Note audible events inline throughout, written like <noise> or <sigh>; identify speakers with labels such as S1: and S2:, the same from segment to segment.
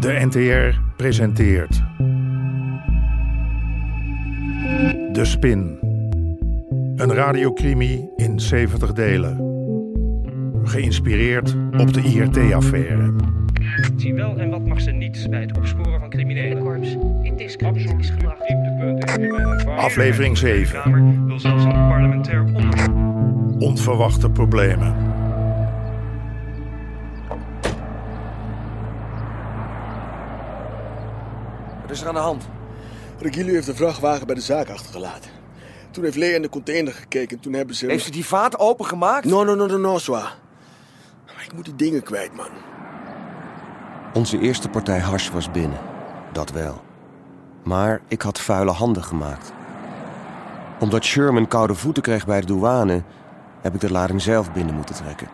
S1: De NTR presenteert. De Spin. Een radiocrimi in 70 delen. Geïnspireerd op de IRT-affaire.
S2: Wat mag wel en wat mag ze niet bij het opsporen van criminelen?
S3: Corps in discrediet gebracht.
S1: Aflevering zeven.
S2: De Kamer wil zelfs een parlementair onderzoek.
S1: Onverwachte problemen.
S4: Wat is er aan de hand?
S5: Regilio heeft een vrachtwagen bij de zaak achtergelaten. Toen heeft Lee in de container gekeken en toen hebben ze...
S4: Heeft ze die vaat opengemaakt?
S5: No, no, no, no, no, Swa. Maar ik moet die dingen kwijt, man.
S4: Onze eerste partij hash was binnen. Dat wel. Maar ik had vuile handen gemaakt. Omdat Sherman koude voeten kreeg bij de douane... heb ik de lading zelf binnen moeten trekken.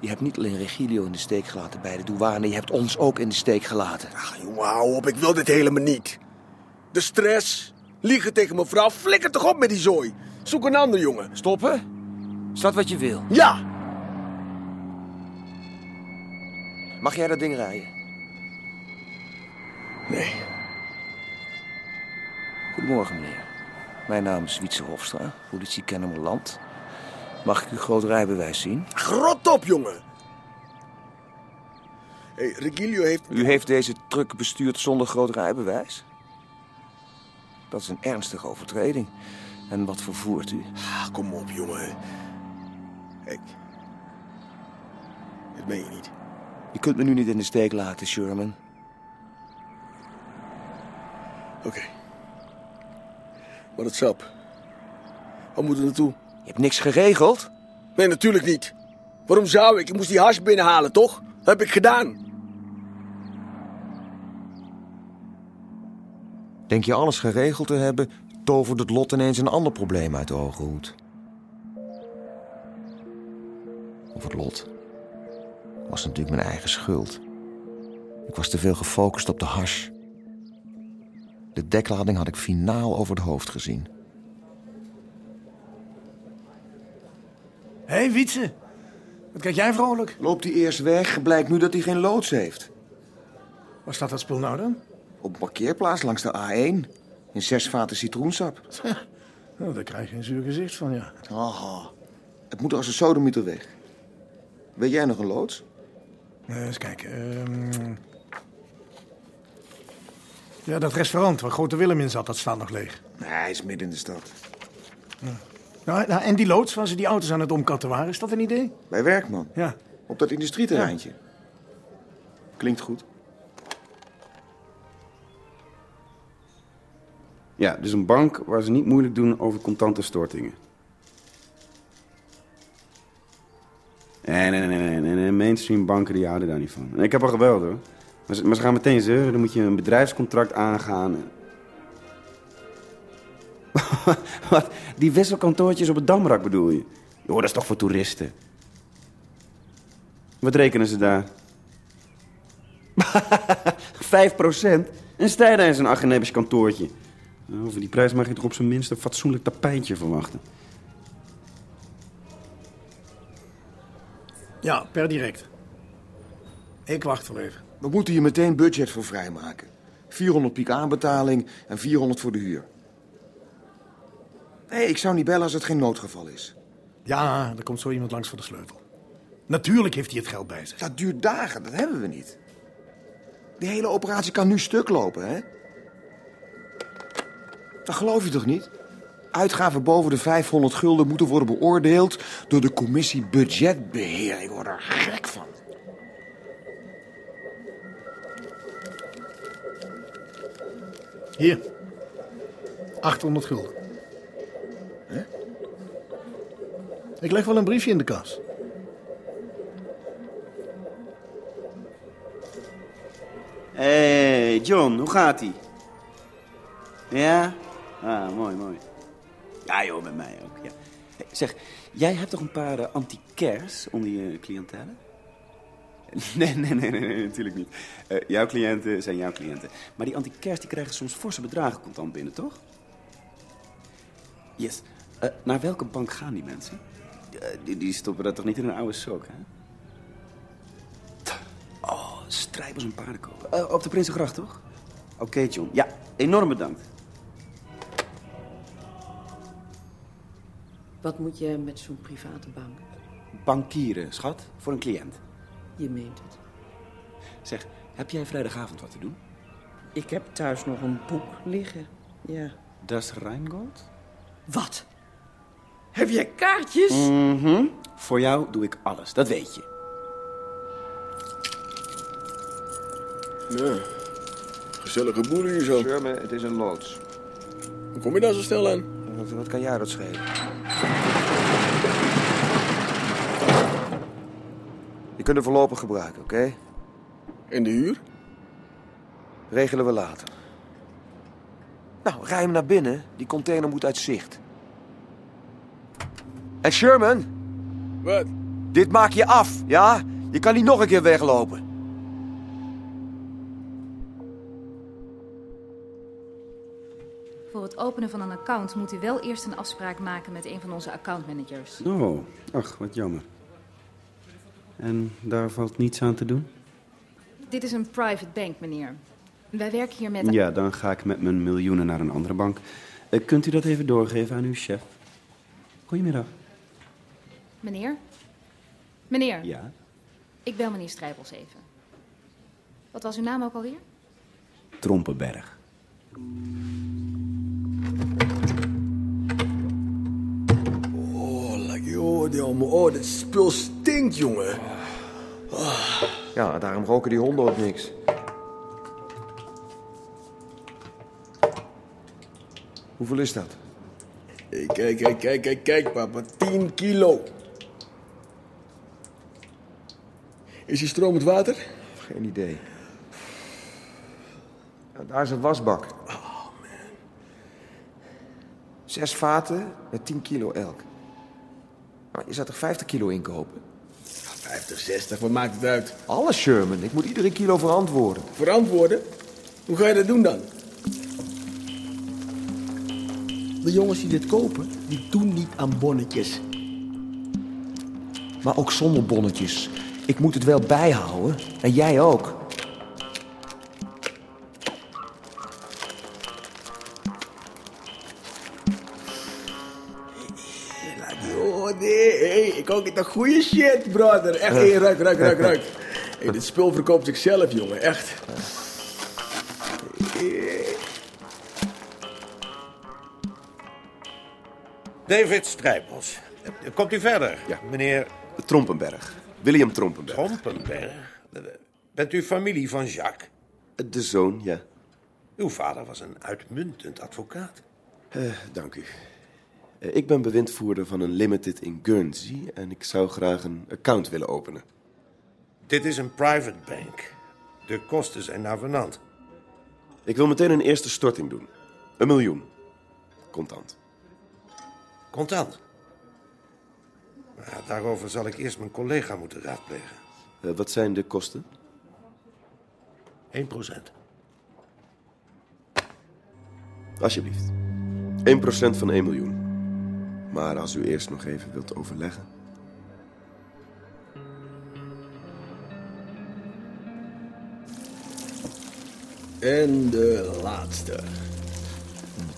S4: Je hebt niet alleen Regilio in de steek gelaten bij de douane... je hebt ons ook in de steek gelaten.
S5: Ach, jongen, hou op. Ik wil dit helemaal niet. De stress, liegen tegen mijn vrouw, flikker toch op met die zooi. Zoek een ander, jongen.
S4: Stoppen? Is dat wat je wil?
S5: Ja!
S4: Mag jij dat ding rijden?
S5: Nee,
S4: Goedemorgen, meneer. Mijn naam is Wietse Hofstra, politie Kennemerland. Mag ik uw groot rijbewijs zien?
S5: grot op, jongen. Hé, hey, Regilio heeft...
S4: U heeft deze truck bestuurd zonder groot rijbewijs? Dat is een ernstige overtreding. En wat vervoert u?
S5: Ach, Ah, kom op, jongen. Hé. Dit meen je niet.
S4: Je kunt me nu niet in de steek laten, Sherman.
S5: Oké. Maar het sap. Waar moeten we naartoe?
S4: Je hebt niks geregeld?
S5: Nee, natuurlijk niet. Waarom zou ik? Ik moest die hash binnenhalen, toch? heb ik gedaan.
S4: Denk je alles geregeld te hebben, tovert het lot ineens een ander probleem uit de ogenhoed. Of het lot. Was natuurlijk mijn eigen schuld. Ik was te veel gefocust op de hash. De deklading had ik finaal over het hoofd gezien.
S6: Hé, hey, Wietse. Wat kijk jij vrolijk?
S4: Loopt hij eerst weg, blijkt nu dat hij geen loods heeft.
S6: Waar staat dat spul nou dan?
S4: Op een parkeerplaats langs de A1. In zes vaten citroensap.
S6: Nou, daar krijg je een zuur gezicht van, ja.
S4: Aha. Het moet als een sodemieter weg. Weet jij nog een loods?
S6: Eh, eens kijken. ehm. Ja, dat restaurant waar Grote Willem in zat, dat staat nog leeg.
S4: Nee, hij is midden in de stad.
S6: Nou, nou, en die loods waar ze die auto's aan het omkatten waren, is dat een idee?
S4: Bij Werkman.
S6: Ja.
S4: Op dat industrieterreintje. Klinkt goed.
S7: Ja, dus een bank waar ze niet moeilijk doen over contante stortingen. Nee, nee, nee, nee, nee, nee, mainstream banken die houden daar niet van. En ik heb al gebeld hoor. Maar ze, maar ze gaan meteen zeuren, dan moet je een bedrijfscontract aangaan. en- <laughs> Wat? Die wisselkantoortjes op het Damrak bedoel je? Joh, dat is toch voor toeristen? Wat rekenen ze daar? <laughs> 5 procent? En sta daar in zo'n agenebisch kantoortje. Nou, Over die prijs mag je toch op zijn minst een fatsoenlijk tapijtje verwachten.
S6: Ja, per direct. Ik wacht wel even.
S4: We moeten hier meteen budget voor vrijmaken. 400 piek aanbetaling en 400 voor de huur. Nee, ik zou niet bellen als het geen noodgeval is.
S6: Ja, er komt zo iemand langs voor de sleutel. Natuurlijk heeft hij het geld bij zich.
S4: Dat duurt dagen, dat hebben we niet. Die hele operatie kan nu stuk lopen, hè? Dat geloof je toch niet? Uitgaven boven de 500 gulden moeten worden beoordeeld door de commissie budgetbeheer. Ik word er gek van.
S6: Hier. 800 gulden. Ik leg wel een briefje in de kas.
S7: Hé, hey, John, hoe gaat-ie? Ja? Ah, mooi, mooi. Ja joh, met mij ook, ja. Hey, zeg, jij hebt toch een paar eh, anti-cares onder je cliëntele? <laughs> Nee, nee, nee, nee, nee, natuurlijk niet. Eh, jouw cliënten zijn jouw cliënten. Maar die anti-cares die krijgen soms forse bedragen contant binnen, toch? Yes. Eh, naar welke bank gaan die mensen? Eh, die, die stoppen dat toch niet in een oude sok, hè? Oh, Strijders en paardenkolen. Eh, op de Prinsengracht, toch? Oké, John. Ja, enorm bedankt.
S8: Wat moet je met zo'n private bank?
S7: Bankieren, schat, voor een cliënt.
S8: Je meent het.
S7: Zeg, heb jij vrijdagavond wat te doen?
S8: Ik heb thuis nog een boek liggen. Ja.
S7: Das Rheingold?
S8: Wat? Heb jij kaartjes?
S7: Voor jou doe ik alles, dat weet je.
S5: Ja. Gezellige boel hier zo.
S4: Sherman, het is een loods.
S5: Hoe kom je daar zo snel aan?
S4: Wat, wat kan jij dat schelen? Je kunt er voorlopig gebruiken, oké?
S5: En de huur?
S4: Regelen we later. Nou, rij hem naar binnen. Die container moet uit zicht. En Sherman,
S5: Wat?
S4: dit maak je af, ja? Je kan niet nog een keer weglopen.
S9: Voor het openen van een account moet u wel eerst een afspraak maken met een van onze accountmanagers.
S7: Oh, ach, wat jammer. En daar valt niets aan te doen?
S9: Dit is een private bank, meneer. Wij werken hier met...
S7: Ja, dan ga ik met mijn miljoenen naar een andere bank. Eh, kunt u dat even doorgeven aan uw chef? Goedemiddag.
S9: Meneer? Meneer,
S7: Ja?
S9: ik bel meneer Strijbels even. Wat was uw naam ook alweer?
S7: Trompenberg.
S5: Oh, like, joh, die allemaal. Oh, dit spul stinkt, jongen.
S4: Ja, daarom roken die honden ook niks. Hoeveel is dat?
S5: Hey, kijk, kijk, kijk, kijk, kijk, papa. 10 kilo. Is hier stromend water?
S4: Geen idee. Ja, daar is een wasbak. Zes vaten met 10 kilo elk. Nou, je zou toch 50 kilo inkopen?
S5: 50, 60, wat maakt het uit?
S4: Alles, Sherman. Ik moet iedere kilo verantwoorden.
S5: Verantwoorden? Hoe ga je dat doen dan? De jongens die dit kopen, die doen niet aan bonnetjes.
S4: Maar ook zonder bonnetjes. Ik moet het wel bijhouden. En jij ook.
S5: Oh nee, hey, ik ook niet een goede shit, brother. Echt, hey, ruik, ruik, ruik, ruik. <laughs> Hey, dit spul verkoopt zichzelf, jongen, echt.
S10: David Strijbos. Komt u verder?
S4: Ja.
S10: Meneer
S4: Trompenberg. William Trompenberg.
S10: Trompenberg. Bent u familie van Jacques?
S4: De zoon, ja.
S10: Uw vader was een uitmuntend advocaat.
S4: Dank u. Eh, Ik ben bewindvoerder van een limited in Guernsey en ik zou graag een account willen openen.
S10: Dit is een private bank. De kosten zijn navenant.
S4: Ik wil meteen een eerste storting doen. Een miljoen. Contant.
S10: Contant. Maar daarover zal ik eerst mijn collega moeten raadplegen.
S4: Eh, wat zijn de kosten?
S10: 1 procent.
S4: Alsjeblieft. 1% van 1 miljoen. Maar als u eerst nog even wilt overleggen.
S5: En de laatste.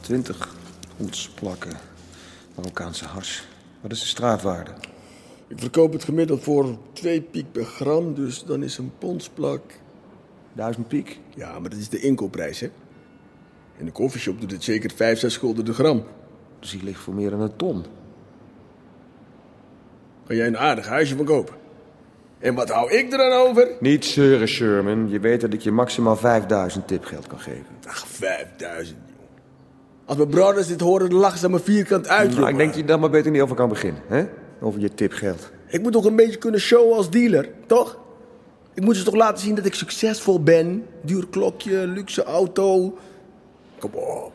S4: 20 hondsplakken. Marokkaanse hars. Wat is de straatwaarde?
S5: Ik verkoop het gemiddeld voor 2 piek per gram, dus dan is een pondsplak...
S4: 1000 piek.
S5: Ja, maar dat is de inkoopprijs, hè? In de koffieshop doet het zeker 5, 6 gulden de gram.
S4: Dus die ligt voor meer dan een ton.
S5: Kan jij een aardig huisje van kopen? En wat hou ik er dan over?
S4: Niet zeuren, Sherman. Je weet dat ik je maximaal 5000 tipgeld kan geven.
S5: Ach, 5000, joh. Als mijn brothers dit horen, dan lachen ze me vierkant uit,
S4: Nou, ik
S5: jongen.
S4: denk dat je daar maar beter niet over kan beginnen, hè? Over je tipgeld.
S5: Ik moet toch een beetje kunnen showen als dealer, toch? Ik moet ze toch laten zien dat ik succesvol ben. Duur klokje, luxe auto. Kom op.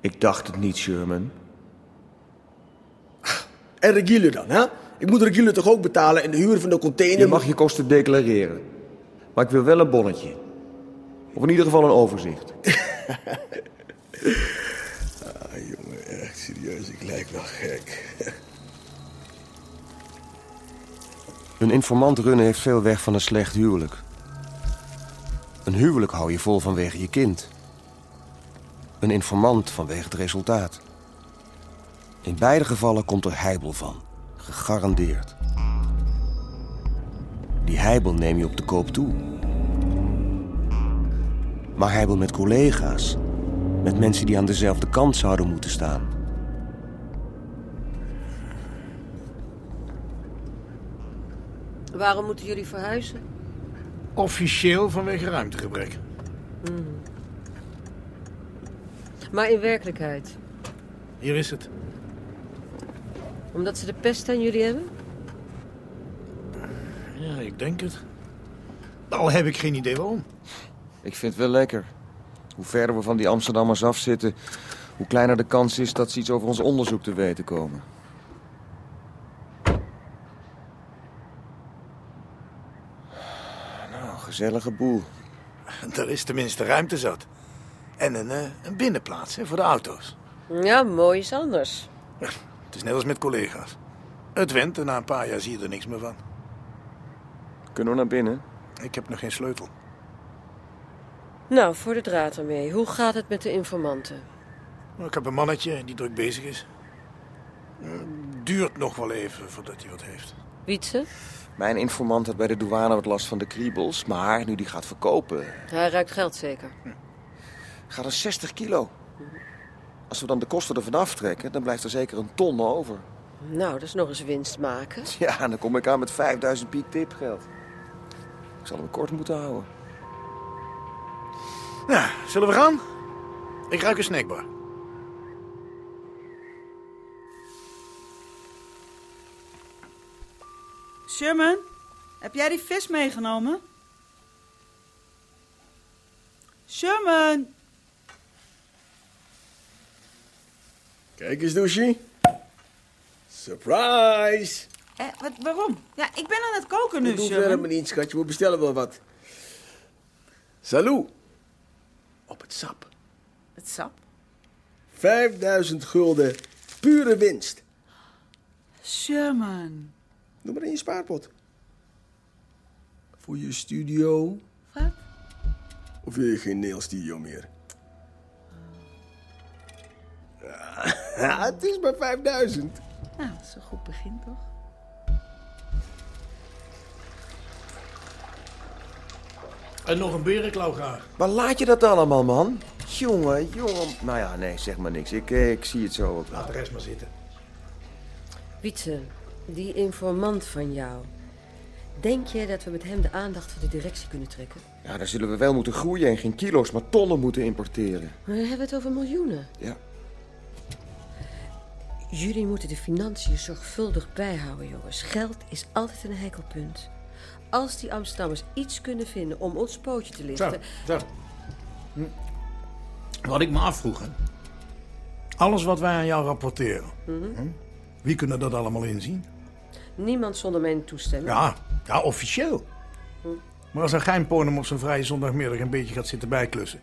S4: Ik dacht het niet, Sherman.
S5: En regulier dan, hè? Ik moet regulier toch ook betalen en de huur van de container...
S4: Je mag je kosten declareren. Maar ik wil wel een bonnetje. Of in ieder geval een overzicht.
S5: Ah, jongen, echt serieus, ik lijk wel gek.
S4: Een informant runnen heeft veel weg van een slecht huwelijk. Een huwelijk hou je vol vanwege je kind. Een informant vanwege het resultaat. In beide gevallen komt er heibel van. Gegarandeerd. Die heibel neem je op de koop toe. Maar heibel met collega's. Met mensen die aan dezelfde kant zouden moeten staan.
S11: Waarom moeten jullie verhuizen?
S6: Officieel vanwege ruimtegebrek.
S11: Hmm. Maar in werkelijkheid,
S6: Hier is het.
S11: omdat ze de pest aan jullie hebben?
S6: Ja, ik denk het. Al heb ik geen idee waarom.
S4: Ik vind het wel lekker. Hoe verder we van die Amsterdammers afzitten, hoe kleiner de kans is dat ze iets over ons onderzoek te weten komen. Nou, gezellige boel.
S6: Er is tenminste ruimte zat. En een, eh, een binnenplaats hè, voor de auto's.
S11: Ja, mooi is anders.
S6: Het is net als met collega's. Het went en na een paar jaar zie je er niks meer van.
S4: Kunnen we naar binnen?
S6: Ik heb nog geen sleutel.
S11: Nou, voor de draad ermee. Hoe gaat het met de informanten?
S6: Maar Ik heb een mannetje die druk bezig is. Eh, Duurt nog wel even voordat hij wat heeft.
S11: Wietse?
S4: Mijn informant had bij de douane wat last van de kriebels, maar nu die gaat verkopen,
S11: Hij ruikt geld zeker.
S6: Hm.
S4: gaat er 60 kilo. Als we dan de kosten ervan aftrekken, dan blijft er zeker een ton over. <laughs>
S11: Nou, dat is nog eens winst maken.
S4: Ja, en dan kom ik aan met 5000 piek tipgeld. Ik zal hem kort moeten houden.
S6: Nou, zullen we gaan? Ik ruik een snackbar.
S12: Sherman, heb jij die vis meegenomen? Sherman!
S5: Kijk eens, douchie. Surprise!
S11: Eh,
S12: Hé, wat, waarom? Ja, ik ben aan het koken nu,
S5: Ik hoef verder
S12: Sherman.
S5: maar niet, schatje. We bestellen wel wat. Salut. Op het sap.
S12: Het sap?
S5: 5000 gulden. Pure winst.
S12: Sherman.
S5: Doe maar in je spaarpot. Voor je studio.
S12: Wat?
S5: Of wil je geen nailstudio meer?
S4: <laughs>
S5: Ja, het is maar 5000.
S12: Nou, dat is een goed begin toch?
S6: En nog een berenklauw graag.
S4: Waar laat je dat allemaal, man? Jongen, jongen. Nou ja, nee, zeg maar niks. Ik, eh, ik zie het zo ook wel.
S6: Laat de rest maar zitten.
S11: Wietse, die informant van jou. Denk je dat we met hem de aandacht van de directie kunnen trekken?
S4: Ja, daar zullen we wel moeten groeien en geen kilo's, maar tonnen moeten importeren.
S11: Maar we hebben het over miljoenen.
S4: Ja.
S11: Jullie moeten de financiën zorgvuldig bijhouden, jongens. Geld is altijd een hekelpunt. Als die Amsterdammers iets kunnen vinden om ons pootje te lichten...
S6: zo. Hm. Wat ik me afvroeg, hè. Alles wat wij aan jou rapporteren.
S11: Mhm.
S6: Wie kunnen dat allemaal inzien?
S11: Niemand zonder mijn toestemming.
S6: Ja, ja officieel.
S11: Mhm.
S6: Maar als een geinpoornum op zijn vrije zondagmiddag een beetje gaat zitten bijklussen...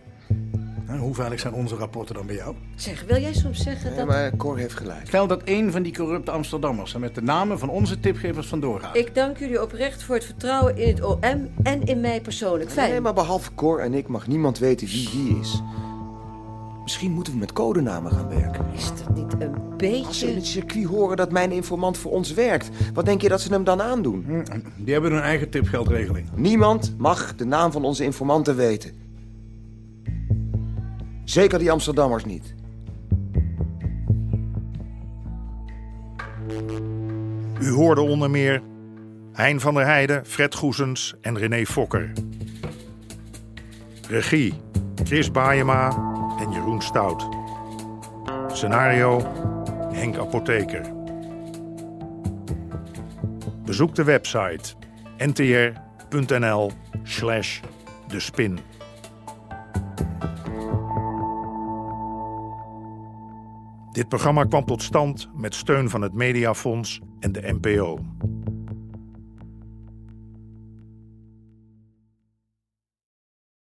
S6: hè, hoe veilig zijn onze rapporten dan bij jou?
S11: Zeg, wil jij soms zeggen dat...
S4: Cor heeft gelijk.
S6: Stel dat één van die corrupte Amsterdammers er met de namen van onze tipgevers vandoor gaat.
S11: Ik dank jullie oprecht voor het vertrouwen in het OM en in mij persoonlijk. Fijn.
S4: Nee, maar behalve Cor en ik mag niemand weten wie wie is. Misschien moeten we met codenamen gaan werken.
S11: Is dat niet een beetje...
S4: Als ze in het circuit horen dat mijn informant voor ons werkt, wat denk je dat ze hem dan aandoen?
S6: Die hebben hun eigen tipgeldregeling.
S4: Niemand mag de naam van onze informanten weten. Zeker die Amsterdammers niet.
S1: U hoorde onder meer Hein van der Heijden, Fred Goesens en René Fokker. Regie Chris Baayema en Jeroen Stout. Scenario Henk Apotheker. Bezoek de website ntr.nl slash de spin. Dit programma kwam tot stand met steun van het Mediafonds en de NPO.